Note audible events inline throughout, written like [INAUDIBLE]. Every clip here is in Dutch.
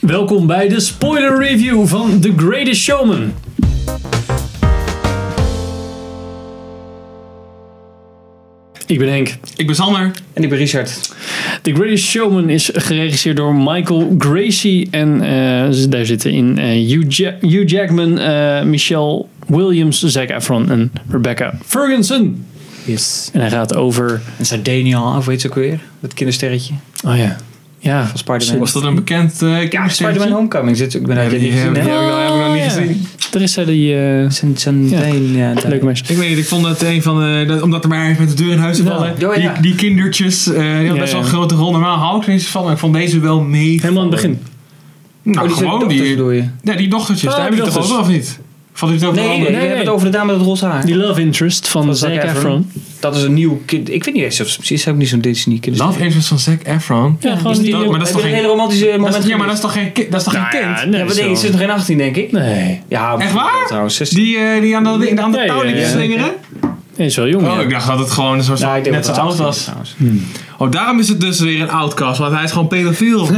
Welkom bij de spoiler review van The Greatest Showman. Ik ben Henk. Ik ben Sander. En ik ben Richard. The Greatest Showman is geregisseerd door Michael Gracie. En eh, z- daar zitten in eh, Hugh, Ja- Hugh Jackman, eh, Michelle Williams, Zac Efron en Rebecca Ferguson. Yes. En hij gaat over... En zijn Daniel af, weet je ook weer? Dat kindersterretje Oh ja. Ja. van Spider-Man. Was dat een bekend eh Ja, Spider-Man Homecoming zit ik ben Ja, eigenlijk die niet gezien. heb ik hè? nog- heb ik nog niet Ja. gezien. Er is zij die... eh Zijn, zijn Ja. Daniel. leuke meisje. Ik weet niet, ik vond dat een van de... dat- omdat er maar ergens met de deur in huis te Ja. vallen. Oh, ja. die, die kindertjes, eh, die hadden Ja, best wel ja. een grote rol. Normaal hou ik er niet zo van, maar ik vond deze wel mee. Helemaal aan het begin. Nou, Oh, die gewoon die... zijn dochters bedoel je? Ja, die dochtertjes, Ah, daar heb die je toch dochters. over, of niet? Valt u het over Nee, de nee, andere? we nee. hebben het over de dame met het roze haar. Die love interest van Van Zac Zac Efron. Efron. Dat is een nieuw kind. Ik weet niet eens of ze precies hebben niet zo'n Disney kind. Love Interest van Zac Efron. Ja, gewoon Is die- dat- maar dat is toch een geen... hele romantische moment. dat is- ja, maar dat geweest. is toch geen, ki- dat is toch Nou geen ja, kind? nee, Ja, wat zo. denk je? Ze is nog geen 18, denk ik. Nee. Ja, Echt waar? Trouwens, 16. Die, eh, die aan de, aan de Ja, touw ja, liep ja. te slingeren? Hij is wel jong, Oh, ja. ik dacht dat het gewoon zo, Ja, ik denk net zo dat oud het was. 18 is trouwens. Oh, daarom is het dus weer een outcast, want hij is gewoon [LAUGHS] pedofiel. ik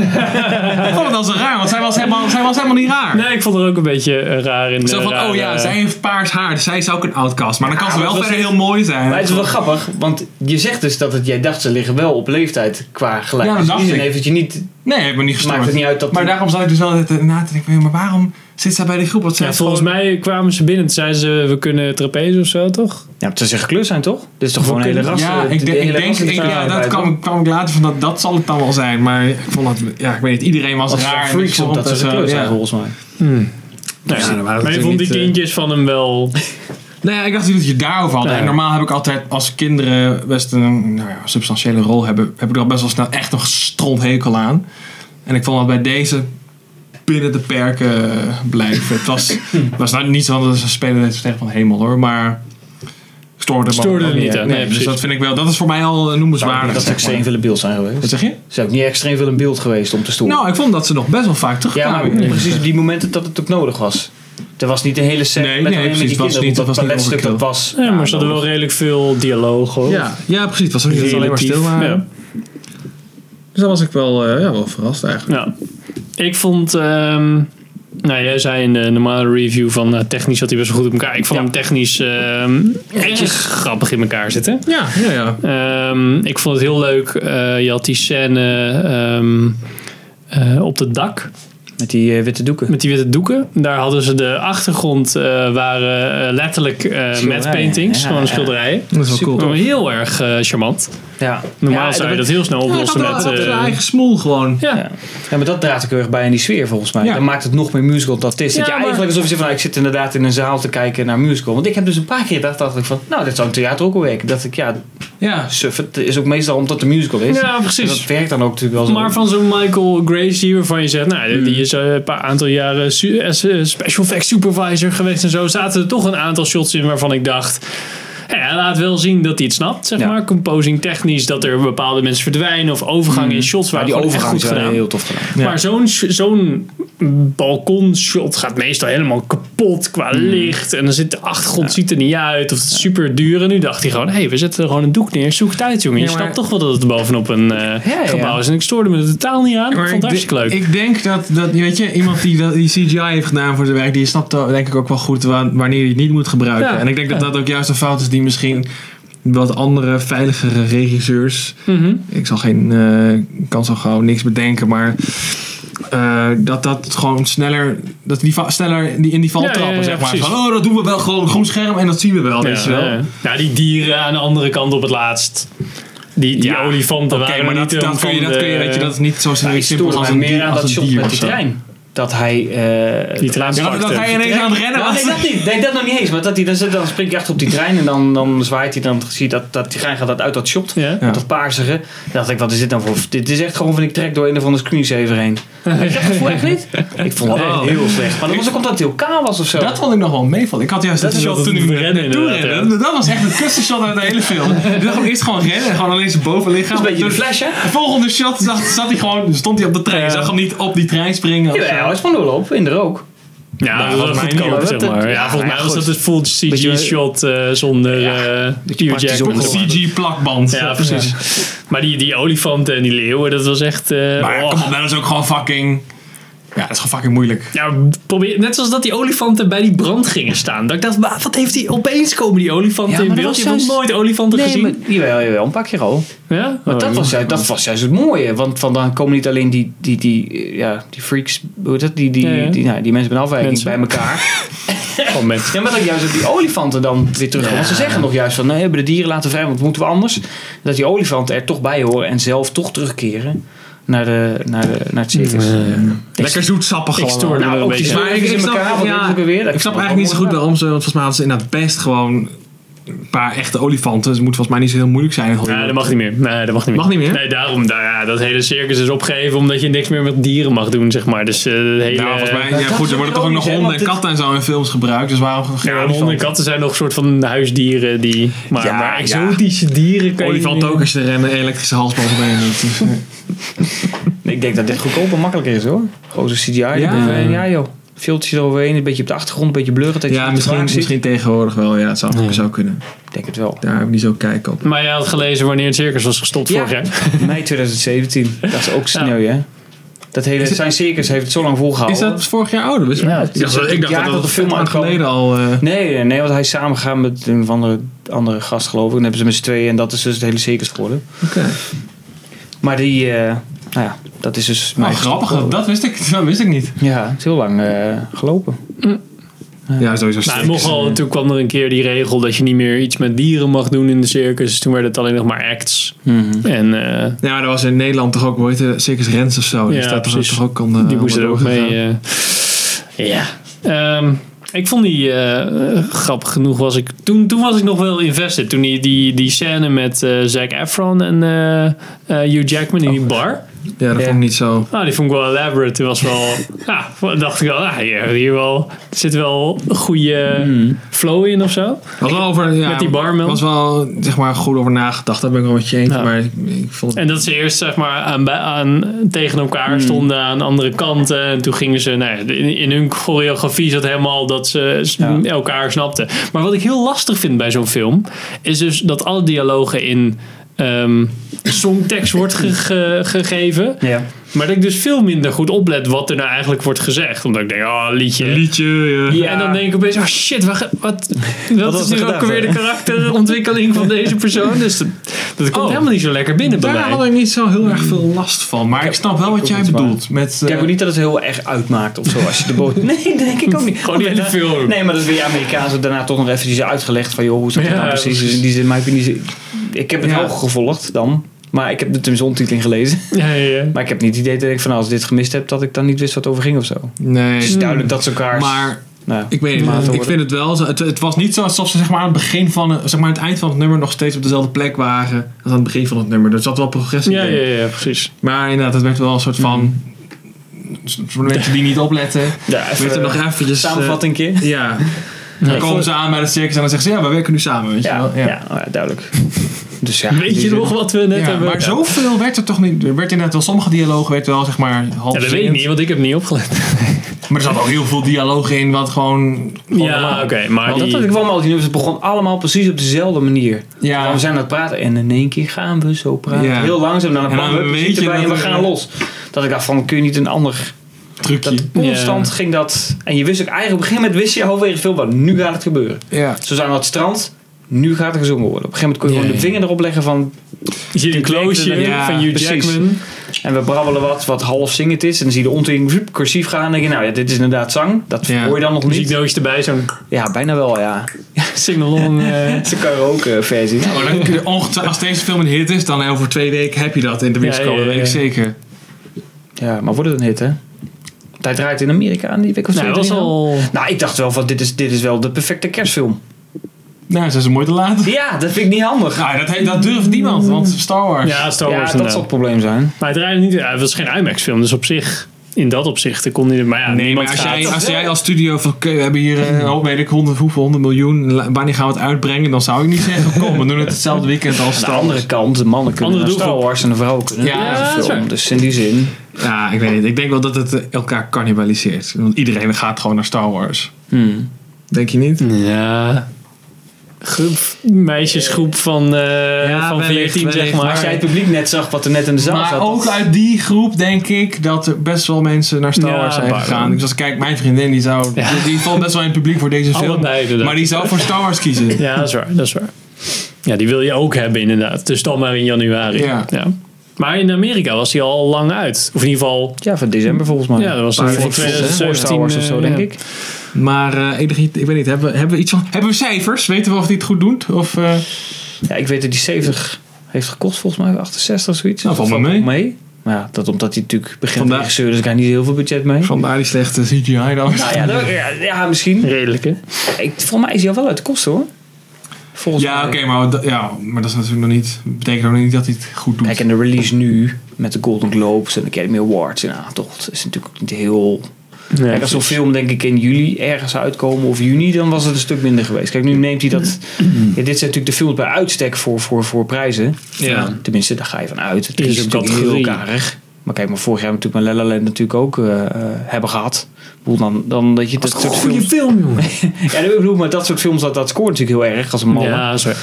vond het al zo raar, want zij was helemaal, zij was helemaal niet raar. Nee, ik vond het ook een beetje eh, raar eh, in de Zo van, rare- oh ja, zij heeft paars haar, dus zij is ook een outcast. Maar dan kan eh, Ja, ze maar wel dat verder is- heel mooi zijn. Maar het is wel grappig, want je zegt dus dat het, jij dacht ze liggen wel op leeftijd qua gelijk. Ja, dat Dus in die dacht zin ik. heeft het je niet Nee, ik ben niet Maakt gestoord. het niet uit dat- Maar daarom zat ik dus wel na te denken, maar waarom zit zij bij die groep? Want zij Ja, is volgens gewoon- mij kwamen ze binnen en zeiden ze, we kunnen trapeze of zo, toch? Ja, maar het is een gekleurd zijn, toch? Dit is toch gewoon een hele kunnen- ras. Ja, de- ik, de denk- ik hele denk, ras- ik, ja, dat kwam, ik- kwam ik later van, dat, dat zal het dan wel zijn. Maar ik vond dat, ja, ik weet niet, iedereen was Als raar. raar en freaks ik vond op dat ze het, eh, gekleurd zijn, ja. volgens mij. Nou, ja, ja, dan waren maar je het vond die natuurlijk niet, eh, kindjes van hem wel... Nee, Nou ik dacht dat je het daarover had. Ja. En normaal heb ik altijd, als kinderen best een nou ja, substantiële rol hebben, heb ik er al best wel snel echt een stront hekel aan. En ik vond dat bij deze binnen de perken blijven. het [LAUGHS] was, was nou niet zo dat ze spelen deze tegen van de hemel hoor, maar ik stoorde, me Stoorde ook er niet aan. Nee, dus precies. dat vind ik wel, dat is voor mij al Zou noemenswaardig. dat ze zeg extreem maar. veel in beeld zijn Wat geweest. zeg je? Ze zijn ook niet extreem veel in beeld geweest om te stoelen. Nou, ik vond dat ze nog best wel vaak ja, maar terugkwamen. precies op die momenten dat het ook nodig was. Er was niet een hele set Nee, met nee, alleen maar precies, die was kinderen. niet- op dat was niet paletstuk dat overkill. was. Ja, maar ze hadden nodig. wel redelijk veel dialoog, hoor. ja, ja, precies. Het was ook niet dat Relatief. ze alleen maar stil waren. Ja. Dus daar was ik wel, eh, ja, wel verrast eigenlijk. Ja. Ik vond... ehm, nou, jij zei in de normale review van eh, technisch zat hij best wel goed op elkaar. Ik vond Ja. hem technisch ehm erg grappig in elkaar zitten. Ja, ja, ja. Ehm, ik vond het heel leuk. eh, je had die scène ehm, eh, op het dak Met die eh, witte doeken. met die witte doeken. Daar hadden ze de achtergrond eh, waren eh, letterlijk eh matte paintings, ja, gewoon ja. schilderijen. Dat is wel cool. Maar Heel erg eh, charmant. Ja. Normaal Ja, zou je dat- dat heel snel oplossen Ja, dat met. had eh, zijn eigen smoel gewoon. ja. Ja. ja, maar dat draagt ook heel erg bij in die sfeer volgens mij. Ja. Dat maakt het nog meer musical dan het is. Ja, dat je maar- eigenlijk alsof je zegt van nou, ik zit inderdaad in een zaal te kijken naar musical. Want ik heb dus een paar keer gedacht, dacht ik van nou dit zou een theater ook wel werken. Dat ik ja, Ja. suf, het is ook meestal omdat het een musical is. Ja, En dat precies. werkt dan ook natuurlijk wel zo. Maar van zo'n Michael Gracie, waarvan je zegt, nou, die- die is eh, een paar aantal jaren su- eh, special effects supervisor geweest en zo, zaten er toch een aantal shots in waarvan ik dacht, hè, hij laat wel zien dat hij het snapt, zeg Ja. maar, composing technisch, dat er bepaalde mensen verdwijnen of overgangen in shots Mm. Maar waren die gewoon echt overgang goed is gedaan. heel tof gedaan. Ja. Maar zo'n sh- zo'n balkonshot gaat meestal helemaal kapot qua Hmm. licht. En dan zit de achtergrond ziet er niet uit. Of het is super duur. En nu dacht hij gewoon, hé, hey, we zetten er gewoon een doek neer. Zoek het uit, jongen. Ja, Je maar- snapt toch wel dat het bovenop een eh, ja. gebouw is. En ik stoorde me er totaal niet aan. Ik vond het hartstikke leuk. Ik denk dat, dat je weet je, iemand die, dat- die CGI heeft gedaan voor zijn werk, die snapt wel, denk ik ook wel goed wa- wanneer je het niet moet gebruiken. Ja. En ik denk dat dat ook juist een fout is die misschien wat andere, veiligere regisseurs. Mhm. Ik zal geen, eh, ik kan zo gauw niks bedenken, maar. eh, dat dat gewoon sneller, dat die va- sneller die in die val Ja, ja, trappen, ja, zeg maar. precies. Van, oh, dat doen we wel gewoon groen scherm en dat zien we wel, weet je wel. ja. Nou, die dieren aan de andere kant op het laatst. Die, die Ja, olifanten Oké, waren maar niet eh, dat, om dat kun je, van dat kun je, de- weet je, dat is niet zo Maar simpel ik stoorde als mij een meer dier, aan als dat een shot dier met of die zo. trein. Dat hij... eh, Die dat- trein Ja, dat, dat pakte. hij ineens aan het rennen Nou, was. nee, dat niet. Nee, dat nog niet eens. Maar dat hij, dan, zit, dan springt hij echt op die trein en dan, dan zwaait hij dan. Zie je dat, dat die trein gaat dat uit dat shot. Ja. Met dat paarsige. Dan dacht ik, wat is dit nou voor... Dit is echt gewoon van ik trek door een of andere screensaver heen. Ik dat gevoel echt niet. Ik vond het Oh. echt heel slecht. Maar dat was ook omdat het heel kaal was of zo. Dat vond ik nog wel meevallen. Ik had juist dat, is shot dat toen het ik hem rennen naartoe inderdaad, rende. Dat was echt het kussenshot uit de hele [LAUGHS] film. Ik dacht ook eerst gewoon rennen, gewoon alleen zijn bovenlichaam. is een beetje de Toen- flash, hè? De volgende shot zat, zat hij gewoon, stond hij op de trein. Je zag hem niet op die trein springen. of zo. Ja, hij is van doorloop in de rook. Ja, Nou, dat was volgens mij goedkoop, niet, zeg hoor. Dat- maar. Ja, ja, volgens mij ja, was goed. dat een full Beetje- CG-shot zonder eh Hugh praktisch Jackman. Een opgezet. CG-plakband. Ja, precies. Maar die, die olifanten en die leeuwen, dat was echt... eh, Maar oh. kom op, dat is ook gewoon fucking... Ja, dat is gewoon fucking moeilijk. Nou, probeer, net zoals dat die olifanten bij die brand gingen staan. Dat ik dacht, wa- wat heeft die opeens komen die olifanten Ja, in maar dat beeld? was Je hebt nog juist- nooit olifanten gezien. maar, jawel, jawel, een pakje rol. Ja? Maar dat, Oh, was juist, dat was juist het mooie. Want vandaan komen niet alleen die, die, die, eh, ja, die freaks, hoe heet dat? Die, die, Ja, ja. Die, nou, die mensen met een afwijking Mensen. bij elkaar. gewoon mensen. ja, maar dat juist dat die olifanten dan weer terugkomen. Want ze zeggen nog juist van, nee, hebben de dieren laten vrij, want moeten we anders? Dat die olifanten er toch bij horen en zelf toch terugkeren naar, de, naar, de, naar het circus. Lekker zoetsappig ik gewoon. stoor me Nou, er een ook beetje. die aan. Maar ik, Is ik in snap, elkaar, want dit is ja, ook weer- ik snap eigenlijk niet zo goed waarom ze, want volgens mij hadden ze inderdaad best gewoon een paar echte olifanten. Dus het moet volgens mij niet zo heel moeilijk zijn. in Hollywood. Nee, dat mag niet meer. Nee, dat mag niet meer. Mag niet meer? Nee, daarom. Nou ja, dat hele circus is opgegeven omdat je niks meer met dieren mag doen, zeg maar. Dus eh de hele... Nou, volgens eh, mij, ja, dat goed, is er worden ook toch ook nog logisch, hè, honden en want katten en zo in films gebruikt. Dus waarom geen Ja, olifant? honden en katten zijn nog een soort van huisdieren die... Maar, Ja, maar ja. exotische dieren kan je Olifant niet- ook als je er een elektrische halsband op een doet. Dus, eh, Ik denk dat dit goedkoper en makkelijker is hoor. Grote CGI. Ja, eh, ja joh. Filtjes eroverheen, een beetje op de achtergrond, een beetje blurren. dat je ja, het niet te misschien, vaak ziet. misschien tegenwoordig wel. Ja, dat zou, Ja. zou kunnen. Ik denk het [LAUGHS] wel. Daar heb ik niet zo kijk op. Maar jij had gelezen wanneer het circus was gestopt Ja. vorig [LAUGHS] jaar. Mei 2017. Dat is ook sneu, hè? Dat hele Is het- Science Circus heeft het zo lang Is volgehouden. dat vorig jaar ouder? Wist- Ja, ik dacht, het is ik het dacht jaar dat dat dat de de film film lang uitkwam. geleden al... eh, Nee, nee, nee, want hij is samengegaan met een of andere, andere gast, geloof ik. Dan hebben ze met z'n tweeën en dat is dus het hele circus geworden. Oké. Maar die, eh, nou ja, dat is dus... Maar mij Oh, grappig, gestopt. dat, dat wist ik, dat wist ik niet. Ja, het is heel lang eh, gelopen. Ja, sowieso Nou, nogal, toen kwam er een keer die regel dat je niet meer iets met dieren mag doen in de circus. Toen werd het alleen nog maar acts. En eh, Ja, maar dat was in Nederland toch ook, hoe heet het, Circus Rens of zo. Ja, dus dat was precies. toch ook... Kon, eh, die moesten er ook mee. allemaal doorgegaan. eh, ja. Ehm, ik vond die eh, eh, grappig genoeg. Was ik, toen, toen was ik nog wel invested. Toen die, die, die scène met eh Zac Efron en eh, eh, Hugh Jackman in die Oh. bar. Ja, dat Ja. vond ik niet zo... Ah, die vond ik wel elaborate. Die was wel. ja, dacht ik wel. Ah, hier, hier wel, er zit wel een goede flow in of zo. Was wel over, ja, Met die barman. was wel zeg maar, goed over nagedacht. Daar ben ik wel met je eens. Ja. Maar ik, ik vond het... En dat ze eerst zeg maar aan, bij- aan, tegen elkaar stonden aan andere kanten. En toen gingen ze, nou, ja, in, in hun choreografie zat helemaal dat ze s- Ja. elkaar snapten. Maar wat ik heel lastig vind bij zo'n film, is dus dat alle dialogen in ehm, songtekst wordt ge- ge- gegeven. Ja. Maar dat ik dus veel minder goed oplet wat er nou eigenlijk wordt gezegd. Omdat ik denk, oh, liedje. liedje... eh, ja. En dan denk ik opeens, oh shit, wat, ge- wat, wat, was is de nu ook gedachte? weer de karakterontwikkeling van deze persoon? Dus dat, dat komt Oh. helemaal niet zo lekker binnen bij Daar mij. had ik niet zo heel erg veel last van. Maar ik snap wel wat jij niet bedoelt. Met, Ik eh, denk ook niet dat het heel erg uitmaakt of zo als je de boot... Nee, denk ik ook niet. Gewoon die hele Want daarna- film. Nee, maar dat is weer Amerikaanse daarna toch nog eventjes uitgelegd van... joh, hoe zat het Ja, nou precies? precies. Dus in die zin, maar ik, ben niet, ik heb het Ja. wel gevolgd dan. Maar ik heb de tenminste ondertiteling gelezen. [LAUGHS] Ja, ja, ja. Maar ik heb niet het idee dat ik van als ik dit gemist heb... dat ik dan niet wist wat over ging of zo. Het nee, is duidelijk dat ze elkaar... maar nou, ja. ik weet Maten niet. Ik worden. vind het wel. zo- Het, het was niet zo alsof ze zeg maar, aan het begin van, eh, zeg maar, aan het eind van het nummer nog steeds op dezelfde plek waren als aan het begin van het nummer. Er zat wel progressie Ja, in. ja, ja, precies. Maar inderdaad, het werd wel een Hmm. soort van. Voor de mensen die niet [LAUGHS] opletten, ja, even, werd er nog eh, dus eventjes. eh, samenvatting een keer. ja. Dan komen ze aan bij het circus en dan zeggen ze: Ja, we werken nu samen. Weet je Ja, wel? ja. oh ja, duidelijk. Dus ja, Weet je nog wat we net Ja, hebben? maar zoveel werd er toch niet. Er werd inderdaad wel sommige dialogen werd wel zeg maar half. Ja, dat weet ik zingend. niet, want ik heb niet opgelet. Maar er zat ook heel veel dialoog in wat gewoon. gewoon Ja, normaal- oké, Oh, maar Maar Oh, dat die... had ik wel met al die nummers. Het begon allemaal precies op dezelfde manier. Ja. Ja. We zijn aan het praten en in één keer gaan we zo praten. Ja. Heel langzaam. Dan, En dan dan weet weet je je erbij dat en we er- gaan los. Dat ik dacht van, kun je niet een ander... Trucje. Dat constant ging dat... En je wist ook eigenlijk, op een gegeven moment wist je halverwege veel van, nu gaat het gebeuren. Ja. Zo zijn we aan het strand, nu gaat er gezongen worden. Op een gegeven moment kon je Ja, gewoon de ja. vinger erop leggen van... Je ziet een closeje Ja, van Hugh precies. Jackman. En we brabbelen wat, wat half zingend is. En dan zie je de onting vup, cursief gaan. En dan denk je, nou ja, dit is inderdaad zang. Dat Ja. hoor je dan nog niet. Muziekdoosje erbij, zo'n Ja, bijna wel, ja. sing-along. eh. Het is een karaoke versie. Oh, [LAUGHS] dan kun je ongetwijfeld- als deze film een hit is, dan over twee weken heb je dat in de Ja, ja, bioscoop. Dat ja. weet ik zeker. Ja, maar wordt het een hit, hè? Want Hij draait in Amerika aan die week of nou, twee, dat was drie al... dan. Nou, ik dacht wel van, dit is, dit is wel de perfecte kerstfilm. Nou, zijn ze mooi te laat. [LAUGHS] Ja, dat vind ik niet handig. Nou, dat, he- dat durft niemand, want Star Wars. Ja, Star Ja, Wars dat zal het probleem zijn. Maar het draaide niet... ja, het was geen IMAX-film, dus op zich... In dat opzicht dan kon hij... er- Maar ja, Nee, maar niemand als gaat... jij, als jij als studio van, oké, we hebben hier, eh, oh, weet ik, honderd, hoeveel, honderd miljoen, la- wanneer gaan we het uitbrengen? Dan zou ik niet zeggen, kom, we doen het [LAUGHS] hetzelfde weekend als Aan de Star Wars. andere kant, de mannen kunnen Andere naar Star doelgroep. Wars en de vrouwen kunnen Ja, naar dat een is waar. film. Dus in die zin... Ja, ik weet niet. Ik denk wel dat het eh, elkaar cannibaliseert. Want iedereen gaat gewoon naar Star Wars. hmm. Denk je niet? Ja... groep, meisjesgroep van, eh, Ja, van wellicht, 14, zeg wellicht, maar. Als jij het publiek net zag wat er net in de zaal Maar zat. ook dat- uit die groep denk ik dat er best wel mensen naar Star Ja, Wars zijn waarom? gegaan. Dus als ik kijk, mijn vriendin die zou, Ja. die, die valt best wel in het publiek voor deze film. Allebei inderdaad. Maar die zou voor Star Wars [LAUGHS] kiezen. Ja, dat is waar. Dat is waar. Ja, die wil je ook hebben inderdaad. Dus dan maar in januari. Ja. Maar in Amerika was die al lang uit. Of in ieder geval... Ja, van december volgens mij. Ja, dat was Maar voor voor- voor- voor 2017. Star Wars of zo, eh, denk ja. ik. Maar eh, ik, denk- ik weet niet, hebben, we- hebben we iets van, hebben we cijfers? Weten we of die het goed doet? Of, eh, Ja, ik weet dat die 70 heeft gekost volgens mij, 68 of zoiets. Nou, valt Dat wel wel mee. Maar ja, dat omdat hij natuurlijk begint Vandaar- regisseur, dus ik heb niet heel veel budget mee. vandaar die slechte CGI dan. Nou ja, dat- ja, ja, misschien. Redelijk, hè? Ik, volgens mij is hij al wel uit de kosten hoor. Volgens Ja, mij. oké, maar, dat- ja, maar dat is natuurlijk nog niet, betekent nog niet dat hij het goed doet. Kijk, en de release nu met de Golden Globes en de Academy Awards in aantocht is natuurlijk ook niet heel. Kijk, als zo'n film denk ik in juli ergens uitkomen of juni, dan was het een stuk minder geweest. Kijk, nu neemt hij dat. Mm-hmm. Ja, dit zijn natuurlijk de films bij uitstek voor, voor, voor prijzen. Ja. Tenminste, daar ga je van uit. Het Is is een natuurlijk heel categorie. karig. Maar kijk, maar vorig jaar hebben we natuurlijk met La La Land natuurlijk ook eh, eh, hebben gehad. Ik bedoel, Dan, dan dat je dat soort films... film, jongen. [LAUGHS] Ja, ik bedoel, maar dat soort films, dat, dat scoort natuurlijk heel erg als een man. Ja, sorry.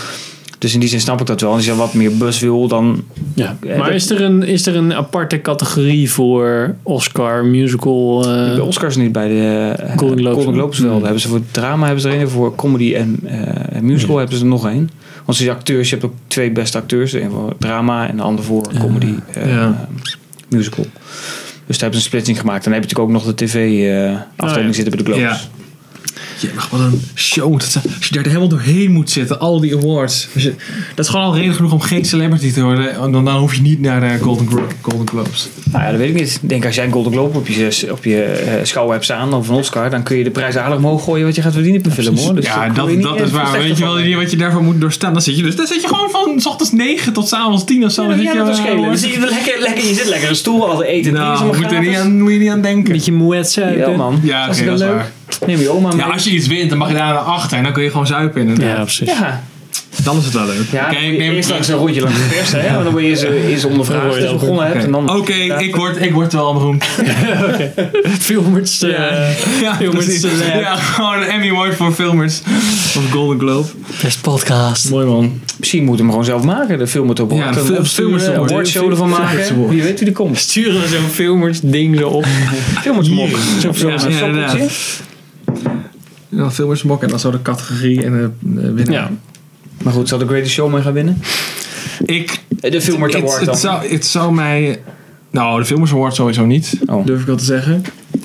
Dus in die zin snap ik dat wel. Als je wat meer bus wil, dan... Ja. Ja, Maar dat- is er, een, is er een aparte categorie voor Oscar, musical? eh, de Oscars niet bij de eh, Golden Globes. wel. Mm. Hmm. Daar hebben ze voor drama hebben ze er een. Voor comedy en eh, en Hmm. musical hebben ze er nog een. Want ze acteurs, je hebt ook twee beste acteurs. De een voor drama en de ander voor comedy eh, ja. musical. Dus daar hebben ze een splitsing gemaakt. En dan heb je natuurlijk ook nog de tv-afdeling Oh, ja. zitten bij de Globes. Ah, Ja. Jee, maar wat een show. Dat ze- als je daar helemaal doorheen moet zitten, al die awards. Als je- dat is gewoon al reden genoeg om geen celebrity te worden. Want Dan, dan hoef je niet naar de Golden, Glo- Golden Globes. Nou ja, dat weet ik niet. Ik denk als jij een Golden Globe op je, op je eh, schouw hebt staan of een Oscar, dan kun je de prijs aardig omhoog gooien wat je gaat verdienen per film hoor. Dus ja, daar kun je dat, niet dat echt is waar. slechter Weet je wel van niet wat je daarvoor moet doorstaan? Dan zit je, dus, dan zit je gewoon van s ochtends 9 tot s avonds 10 of zo. Ja, Dan dat zit je kan wel- toch schelen? Dan zit je, er lekker, lekker, je zit lekker in een stoel al te eten. en Nou, drinken, moet je, maar er niet gratis. aan, moet je niet aan denken. beetje moeite zuipen. Ja, man. Ja, oké, ik dat is leuk. waar. Neem je oma mee. Ja, als je iets wint, dan mag je daar naar achter. En dan kun je gewoon zuipen in. Ja, precies. [LAUGHS] Ja. Dan is het wel leuk. Ja, Oké, ik neem het eerst langs terug. een rondje langs [LAUGHS] de pers, hè? Want dan word je eerst, eh, eerst ondervraagd Dan als word je dan je begonnen hebt. En dan, Oké, ik, word, ik word wel beroemd. [LAUGHS] Filmers. eh, Ja, Filmers, precies. eh, ja, gewoon een Emmy Award voor filmers. Of Golden Globe. Best podcast. Mooi man. Misschien moeten we hem gewoon zelf maken, de film het op. Ja, de film- film het een award. awardshow ervan maken. Wie weet wie er komt. Sturen we zo'n filmers ding zo op. Film het mok. Zo'n Ja, zo'n inderdaad. soppeltje. En dan filmers mok en dan zo de categorie en de eh, winnaar. Ja. Maar goed, zal de Greatest Showman gaan winnen? Ik, Eh, De Filmert het, Award het, dan. zou, het zou mij... Nou, de Filmers Award sowieso niet. Oh. Durf ik wel te zeggen.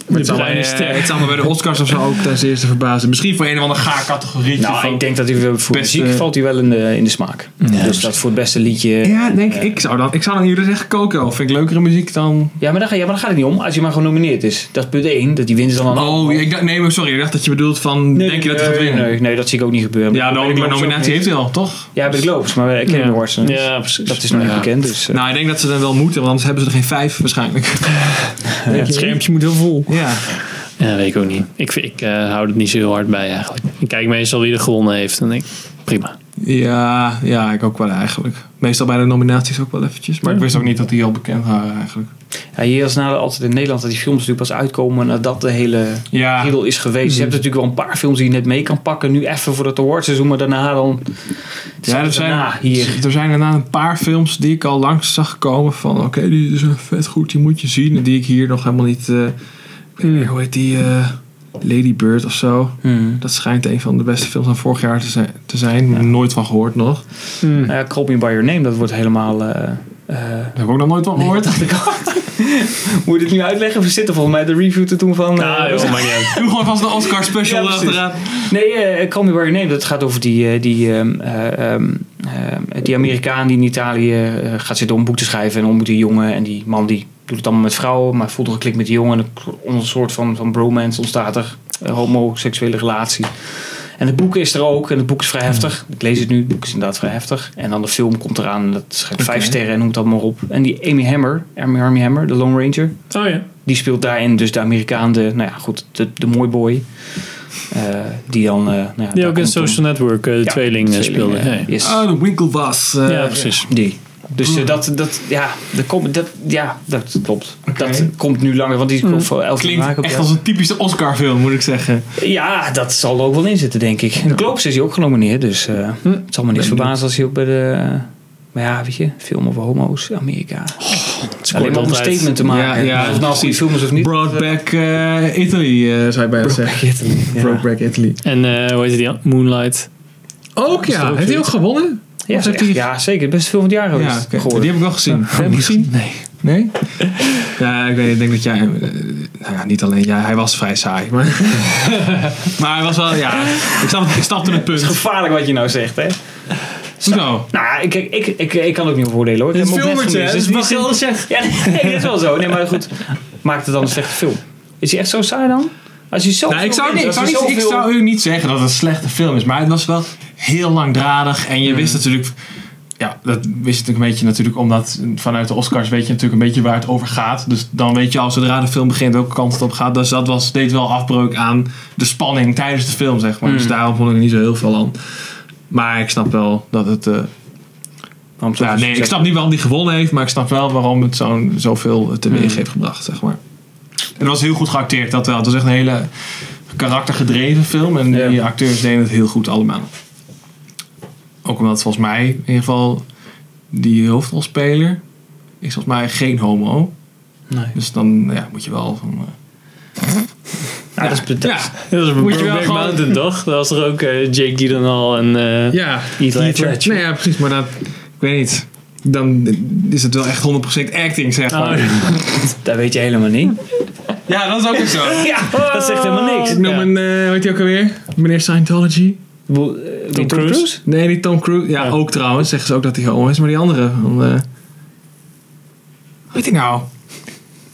Maar het, zou mij, bruine eh, ster. het zou me bij de Oscars of zo ook ten eerste verbazen. Misschien voor een of andere gaar categorie. Nou, ik denk dat hij voor voor Beste- muziek valt hij wel in de, in de smaak. dus dat voor het beste liedje. Ja, Ja, denk ik. Ik zou dan, ik zou dan jullie zeggen Coco. Vind ik leukere muziek dan... maar, daar, ga- ja, maar daar gaat het niet om. Als hij maar genomineerd is. Dat is punt 1. Dat die wint is dan een Oh, ik dacht, nee, maar sorry. Ik dacht dat je bedoelt van... denk je dat hij gaat winnen? Nee, nee, dat zie ik ook niet gebeuren. Ja, Bij nou, de maar Globes ook nominatie niet. heeft hij al, toch? Ja, bij de Globes. Maar bij Academy Awards. eh, Ja, precies. Dat is nog Ja. niet bekend. Dus, eh, Nou, ik denk dat ze dan wel moeten, want anders hebben ze er geen vijf waarschijnlijk. Ja, het schermpje moet wel vol. Ja. Ja, weet ik ook niet. Ik, vind- ik eh, hou het niet zo heel hard bij eigenlijk. Ik kijk meestal wie er gewonnen heeft. En denk ik, prima. Ja, ja, ik ook wel eigenlijk. Meestal bij de nominaties ook wel eventjes. Maar ik wist ook niet dat die al bekend waren eigenlijk. ja, hier is nadeel altijd in Nederland dat die films natuurlijk pas uitkomen nadat de hele Ja, riedel is geweest. Je hebt natuurlijk wel een paar films die je net mee kan pakken. Nu even voor dat awardseizoen, maar daarna dan... ja er, zijn, daarna hier. er zijn inderdaad een paar films die ik al langs zag komen van... Oké, die zijn vet goed, die moet je zien. En die ik hier nog helemaal niet... eh, Hoe heet die? eh, Lady Bird of zo. Hmm. Dat schijnt een van de beste films van vorig jaar te zijn. Te zijn. Nooit van gehoord nog. Nou ja, Call Me By Your Name, dat wordt helemaal... eh, eh, Daar heb ik ook nog nooit van gehoord. [LAUGHS] Moet je dit nu uitleggen? We zitten volgens mij de review te doen van... eh, Ah, joh, maakt niet uit. Doe gewoon vast de Oscar special Ja, precies. erachteraan. nee, eh Call Me By Your Name, dat gaat over die, eh, die, ehm, eh, ehm, ehm, die Amerikaan die in Italië eh, gaat zitten om een boek te schrijven. En ontmoet die jongen en die man die doet het allemaal met vrouwen. Maar voelt er een klik met die jongen. En een- een soort van, van bromance ontstaat er. Een homoseksuele relatie. En het boek is er ook. En het boek is vrij heftig. Ik lees het nu. Het boek is inderdaad vrij heftig. En dan de film komt eraan. En dat schijnt vijf Oké. sterren en noem het allemaal op. En die Amy Hammer, Amy, Army Hammer, de Lone Ranger. Oh ja. Die speelt daarin dus de Amerikaan, de, nou ja, goed, de, de mooi boy. Eh, die dan... eh, nou ja, daar Die ook in komt Social Network eh, de Ja, tweeling eh, tweeling, speelde. eh, Hey. yes. Oh, de Winkelbas. eh, Ja, precies. Die. Dus eh, dat, dat, ja, dat, komt, dat, ja, dat klopt. Oké. Dat komt nu langer, want die Mm. is voor 11 Klinkt maart op echt ja. als een typische Oscar film, moet ik zeggen. Ja, dat zal er ook wel in zitten, denk ik. En de Globes is hij ook genomineerd, dus eh, Hm. het zal me niks verbazen als hij ook bij de... Maar ja, weet je, film over homo's, Amerika. Alleen maar om een altijd. statement te maken. Ja, Ja, ja, of het nou precies. goede film is of niet. Brought back eh, Italy, eh, zou je bijna zeggen. Ja. Brought back Italy. En eh, hoe heet die? dan? Moonlight. Ook Is dat ja. ook Heeft hij ook zoiets? gewonnen? Ja, Of heeft zeker. hij- ja, zeker. Best veel van Oh, het jaar geweest. Ja, oké. geworden. die heb ik wel gezien. Heb je hem gezien? Nee. Nee? Ja, ik weet niet, ik denk dat jij... hem, eh, nou ja, niet alleen jij. Hij was vrij saai. Maar, maar hij was wel... Ja, ik snap, ik snapte het Het is punt. gevaarlijk wat je nou zegt, hè? Zo. Nou, ja, ik, ik, ik, ik, ik kan ook niet voordelen hoor. Ik heb hem ook net gemist. Dus wie zin- zeggen. Ja, nee, [LAUGHS] dat is wel zo. Nee, maar goed. Maakt het dan een slechte film? Is hij echt zo saai dan? Als hij zo. Nou, ik zou, niet, ik, zou niet, ik zou u niet zeggen dat het een slechte film is, maar het was wel heel langdradig. En je wist natuurlijk, ja, dat wist je natuurlijk een beetje natuurlijk, omdat vanuit de Oscars weet je natuurlijk een beetje waar het over gaat. Dus dan weet je al zodra de film begint welke kant het op gaat. Dus dat was, deed wel afbreuk aan de spanning tijdens de film, zeg maar. Dus daarom vond ik er niet zo heel veel aan. Maar ik snap wel dat het. eh, ja, nee, ik snap niet waarom die gewonnen heeft, maar ik snap wel waarom het zo'n- zoveel teweeg heeft gebracht, zeg maar. En dat was heel goed geacteerd, dat wel. Het was echt een hele karaktergedreven film. En Ja. die acteurs deden het heel goed allemaal. Ook omdat volgens mij, in ieder geval, die hoofdrolspeler is volgens mij geen homo. Nee. Dus dan ja, moet je wel van... eh, Ja, dat is bet- ja, Dat was Moet je Brokeback wel gewoon- Mountain, toch? Dat was er ook eh, Jake Gyllenhaal en... eh, ja. Heath Ledger. Nee, ja, precies. Maar dat, ik weet niet. Dan is het wel echt 100% acting, zeg maar. Oh, ja. dat weet je helemaal [LAUGHS] niet. Ja, dat is ook weer zo. Ja, dat zegt helemaal niks. Ik noem Ja. een, eh, hoe heet die ook alweer? Meneer Scientology. Ik bedoel, eh, wie, Tom Cruise? Cruise? Nee, niet Tom Cruise. Ja, Ja. ook trouwens. Zeggen ze ook dat hij homo is. Maar die andere. Van, eh, hoe heet hij nou?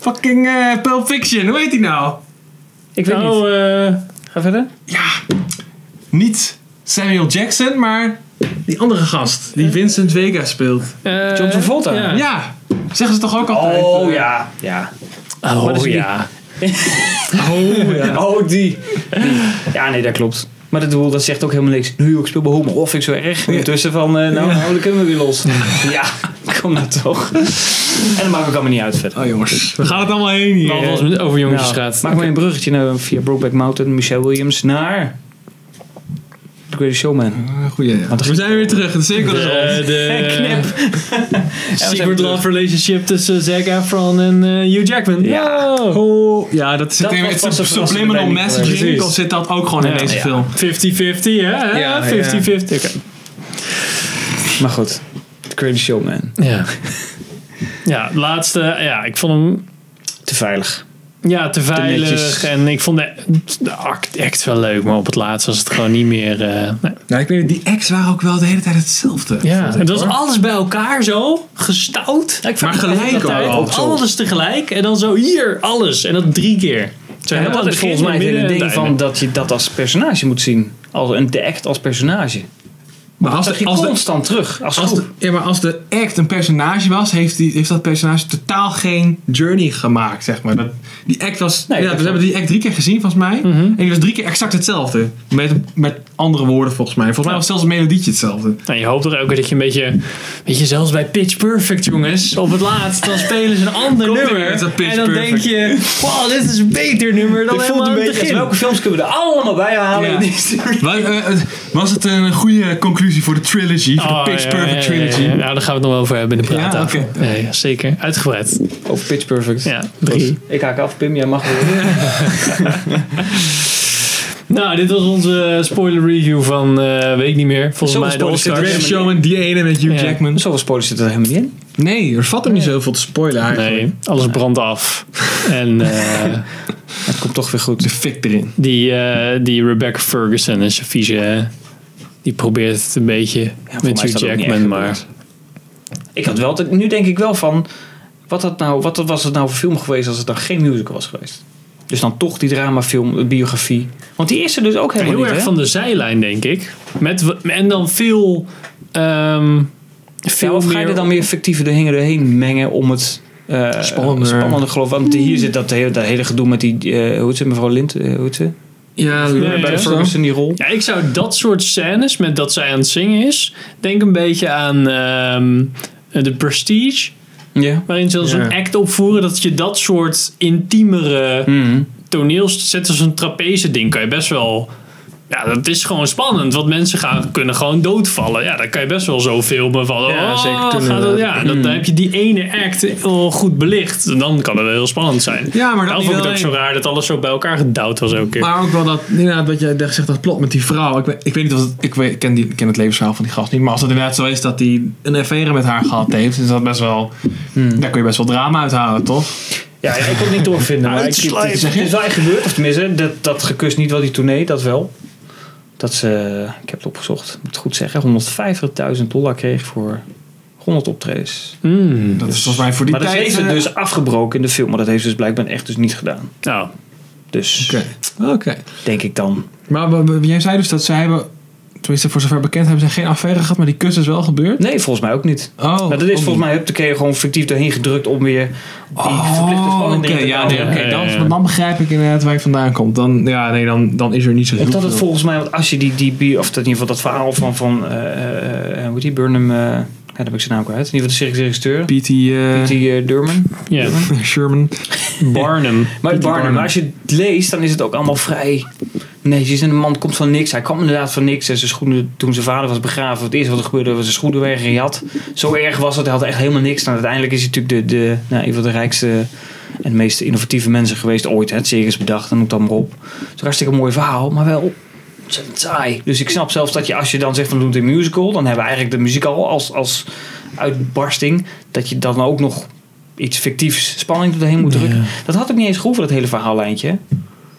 Fucking eh Pulp Fiction. Hoe heet hij nou? Ik weet niet. Oh, eh, Ga verder. Ja, niet Samuel Jackson, maar die andere gast. Die Vincent Vega speelt. eh, John Travolta. Ja. Ja, zeggen ze toch ook altijd. Oh eh, ja. Ja. Wat is Oh die? ja. Oh ja. [LAUGHS] Oh, die. Ja, nee, dat klopt. Maar dat, doel, dat zegt ook helemaal niks. Nu, ik speel bij Homo. Of ik zo erg. Intussen van, eh, nou, nou, dan kunnen we weer los. [LAUGHS] Ja, kom nou toch. En dat maakt ook allemaal niet uit verder. Oh jongens, we gaan het allemaal heen hier. Alles met over Nou, jongetjesstraat. maak maar een bruggetje naar, via Brokeback Mountain, Michelle Williams, naar... The Greatest Showman. Eh, Goeie. ja. er- We zijn weer terug. De cirkel is rond. de, de Eh, [LAUGHS] Knip. secret love relationship tussen Zac Efron en eh, Hugh Jackman. Ja. Wow. Oh, ja, dat zit Dat in was het pas een verrassende subliminal wending. messaging. Precies. Dan zit dat ook gewoon in Ja. deze Ja. film. 50-50, hè? Ja, Ja, 50-50. Oké. Maar goed, The Greatest Showman. Ja. ja, het laatste. Ja, ik vond hem Te veilig. ja, te veilig. netjes. en ik vond de, de act echt wel leuk. Maar op het laatst was het gewoon niet meer... eh, nee. Nou, ik weet niet, die ex waren ook wel de hele tijd hetzelfde. Ja, vond ik, en dat is hoor. alles bij elkaar zo. Gestout. ik Maar gelijk ook. Altijd, wel. alles tegelijk. En dan zo hier, alles. En dat drie keer. Zo, Ja, helemaal dat is begin, volgens mij het midden hele en ding het van einde. dat je dat als personage moet zien. Als een de act als personage. Maar als, Dat de, je als, de, constant terug als als, groep. de, ja, maar als de act een personage was, heeft, die, heeft dat personage totaal geen journey gemaakt, zeg maar. Dat, die act was... Nee, ja, dat we hebben die act drie keer gezien, volgens mij. Mhm. En die was drie keer exact hetzelfde. Met, met andere woorden, volgens mij. Volgens mij was zelfs een [LAUGHS] melodietje hetzelfde. Nou, je hoopt toch ook dat je een beetje... Weet je, zelfs bij Pitch Perfect, jongens. Op het laatst, dan spelen [LAUGHS] ze een ander Komt er nummer. weer dat Pitch en dan Perfect. denk je... Wow, dit is een beter nummer dan Het helemaal voelt een aan het beetje als begin. welke films kunnen we er allemaal bij halen Ja. in deze Wel, eh, eh, Was het een goede conclusie voor de trilogy? Voor de Pitch Perfect trilogy? Oh, Ja, Nou, daar gaan we het nog wel over hebben in de Ja, praattafel. Ja, oké. ja, zeker. Uitgebreid. Over Pitch Perfect. Ja, drie. Ik haak af, Pim, jij mag weer. Nou, dit was onze spoiler review van... eh weet ik niet meer. Volgens Zoveel mij de spoilers zitten The Oscars. erin. Greatest Showman, die ene met Hugh Ja. Jackman. Zoveel spoilers zitten er helemaal niet in. Nee, er valt er niet zoveel te spoilen eigenlijk. Nee, alles brandt af. En [LAUGHS] eh, Het komt toch weer goed. De fik erin. die, eh, die Rebecca Ferguson is een vieze... hè. Die probeert het een beetje mij met is Hugh dat ook niet Jackman, echt maar... Ik had wel, nu denk ik wel van, wat, dat nou, wat was het nou voor film geweest als het dan geen musical was geweest? Dus dan toch die dramafilm, eh, biografie. Want die is er dus ook helemaal Heel niet, erg hè? van de zijlijn, denk ik. Met, w- en dan veel... ehm, Ja, veel of ga je er dan meer fictieve dingen erheen mengen om het eh Spannender. spannender geloof? Want hier zit dat hele, dat hele gedoe met die, eh, hoe heet ze, mevrouw Lind? eh, hoe heet ze? Ja, ja, Bij ja. de Ferguson, die rol. Ja, ik zou dat soort scènes, met dat zij aan het zingen is, denk een beetje aan ehm, eh, The Prestige. Ja. Waarin ze zo'n Ja. act opvoeren dat je dat soort intiemere Mhm. toneels zet als een trapeze ding. Kan je best wel. Ja, dat is gewoon spannend. Want mensen gaan, kunnen gewoon doodvallen. Ja, dan kan je best wel zo filmen van. Ja, oh, zeker toen gaat eh, het, inderdaad. ja, hmm. dan, dan heb je die ene act wel goed belicht. En dan kan het wel heel spannend zijn. Ja, maar dat Daarom vond niet ik het ook alleen. zo raar dat alles zo bij elkaar gedouwd was elke keer. Maar ook wel dat, inderdaad, wat jij zegt, dat plot met die vrouw. Ik, weet- ik weet niet of het, ik, weet, ik ken die, ik ken het levensverhaal van die gast niet. Maar als het inderdaad zo is dat hij een affaire met haar gehad heeft, is dat best wel, Hmm. daar kun je best wel drama uithalen, toch? Ja, ja, ik kon het niet doorvinden. Maar ik, het, is- Uitsluiten. het is wel echt gebeurd. Of tenminste, dat, dat gekust niet wel die tournee, dat wel. Dat ze, ik heb het opgezocht, moet het goed zeggen, 150.000 dollar kreeg voor 100 optredens. Hmm. Dat is volgens mij voor die maar dat tijd... heeft ze eh, dus afgebroken in de film. Maar dat heeft ze dus blijkbaar echt dus niet gedaan. Nou, Dus Oké, oké. denk ik dan. Maar we- we- jij zei dus dat zij hebben, tenminste voor zover bekend, hebben ze geen affaire gehad, maar die kus is wel gebeurd? Nee, volgens mij ook niet. Oh, maar Nou, dat is ook volgens mij heb de keer gewoon fictief daarheen gedrukt om weer die verplichte Oh, spanning oké, erin te ja, houden. nee, oké, Ja, dan, ja, ja. dan begrijp ik inderdaad waar je vandaan komt. Dan, ja, nee, dan, dan is er niet zo heel Omdat het veel. volgens mij, want als je die, die bi- of dat in ieder geval dat verhaal van, van eh, eh, hoe heet die, Burnham, eh ja, daar heb ik zijn naam kwijt. In ieder geval de regisseur. P.T. eh, Die eh, Durman. ja. Sherman. Barnum. Maar P.T. Barnum, Barnum. maar als je het leest, dan is het ook allemaal vrij netjes. En de man komt van niks. Hij kwam inderdaad van niks. En zijn schoenen, toen zijn vader was begraven, het eerste wat er gebeurde was zijn schoenen weggejat. Zo erg was het. Hij had echt helemaal niks. En uiteindelijk is hij natuurlijk de, de, nou, een van de rijkste en meest innovatieve mensen geweest ooit. hè. Het circus bedacht, dan noem dat maar op. Het is een hartstikke mooi verhaal, maar wel ontzettend saai. Dus ik snap zelfs dat je, als je dan zegt van doe het in musical, dan hebben we eigenlijk de muziek al als, als uitbarsting. Dat je dan ook nog iets fictiefs, spanning doorheen moet drukken. Dat had ik niet eens gehoeven, dat hele verhaallijntje.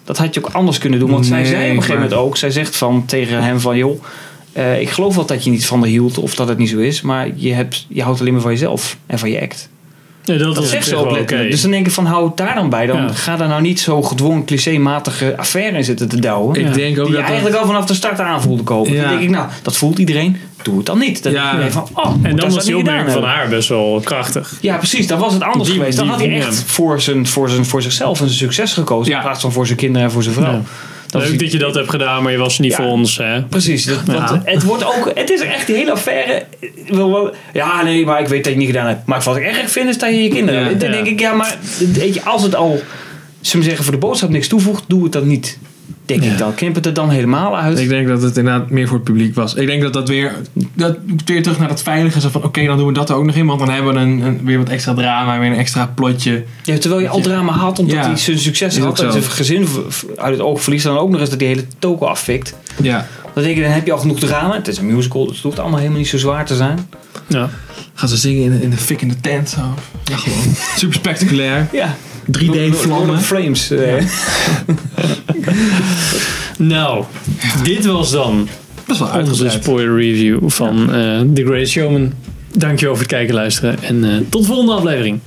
Dat had je ook anders kunnen doen. Want zij Nee, zei op een gegeven maar- moment ook, zij zegt van, tegen hem van... joh, eh, ik geloof wel dat je niet van de hield of dat het niet zo is... maar je, hebt, je houdt alleen maar van jezelf en van je act. Ja, dat, Dat is zegt ze echt ook wel letterlijk. oké. Dus dan denk ik van, hou het daar dan bij. Dan Ja. ga daar nou niet zo gedwongen clichématige affaire in zitten te douwen. Ja. Ik denk ook Die je dat dat- eigenlijk al vanaf de start aan voelde komen. Ja. Dan denk ik, nou, dat voelt iedereen. Doe het dan niet. Dan Ja. denk je van, oh, En dat dan zou was ik die niet gedaan opmerking van hebben. haar best wel krachtig. Ja, precies. Dan was het anders Die- geweest. Dan die- had hij ja. echt voor, zijn, voor, zijn, voor zichzelf een succes gekozen. Ja. In plaats van voor zijn kinderen en voor zijn vrouw. Ja. Dat is- Leuk dat je dat hebt gedaan, maar je was niet Ja. voor ons. Hè? Precies. dat- want Ja. het, wordt ook, het is echt die hele affaire. eh, wel- wel- Ja, nee, maar ik weet dat je het niet gedaan hebt. Maar wat ik erg vind is dat je je kinderen... Ja. dan Ja. denk ik, ja, maar weet je, als het al... Ze zeggen voor de boodschap niks toevoegt, doe het dan niet. Denk ik dan. Knip het er dan helemaal uit. Ik denk dat het inderdaad meer voor het publiek was. Ik denk dat dat weer, dat weer terug naar dat veilige zo van oké, dan doen we dat er ook nog in. Want dan hebben we een, een- weer wat extra drama, weer een extra plotje. Ja, terwijl je al drama had omdat Ja. hij zijn succes Is had. ook zo. En zijn gezin v- v- uit het oog verliest. En dan ook nog eens dat die hele toko afvikt. Ja. Dan denk ik, dan heb je al genoeg drama. Het is een musical, dus het hoeft allemaal helemaal niet zo zwaar te zijn. Ja. Gaan ze zingen in, in de fik in de tent. Zo. Ja, gewoon. Super spectaculair. Ja. 3D vlammen. Frames. eh. Nou, dit was dan Best wel onze uitgebreid. spoiler review van eh The Great Showman. Dankjewel voor het kijken en luisteren. En eh, tot de volgende aflevering.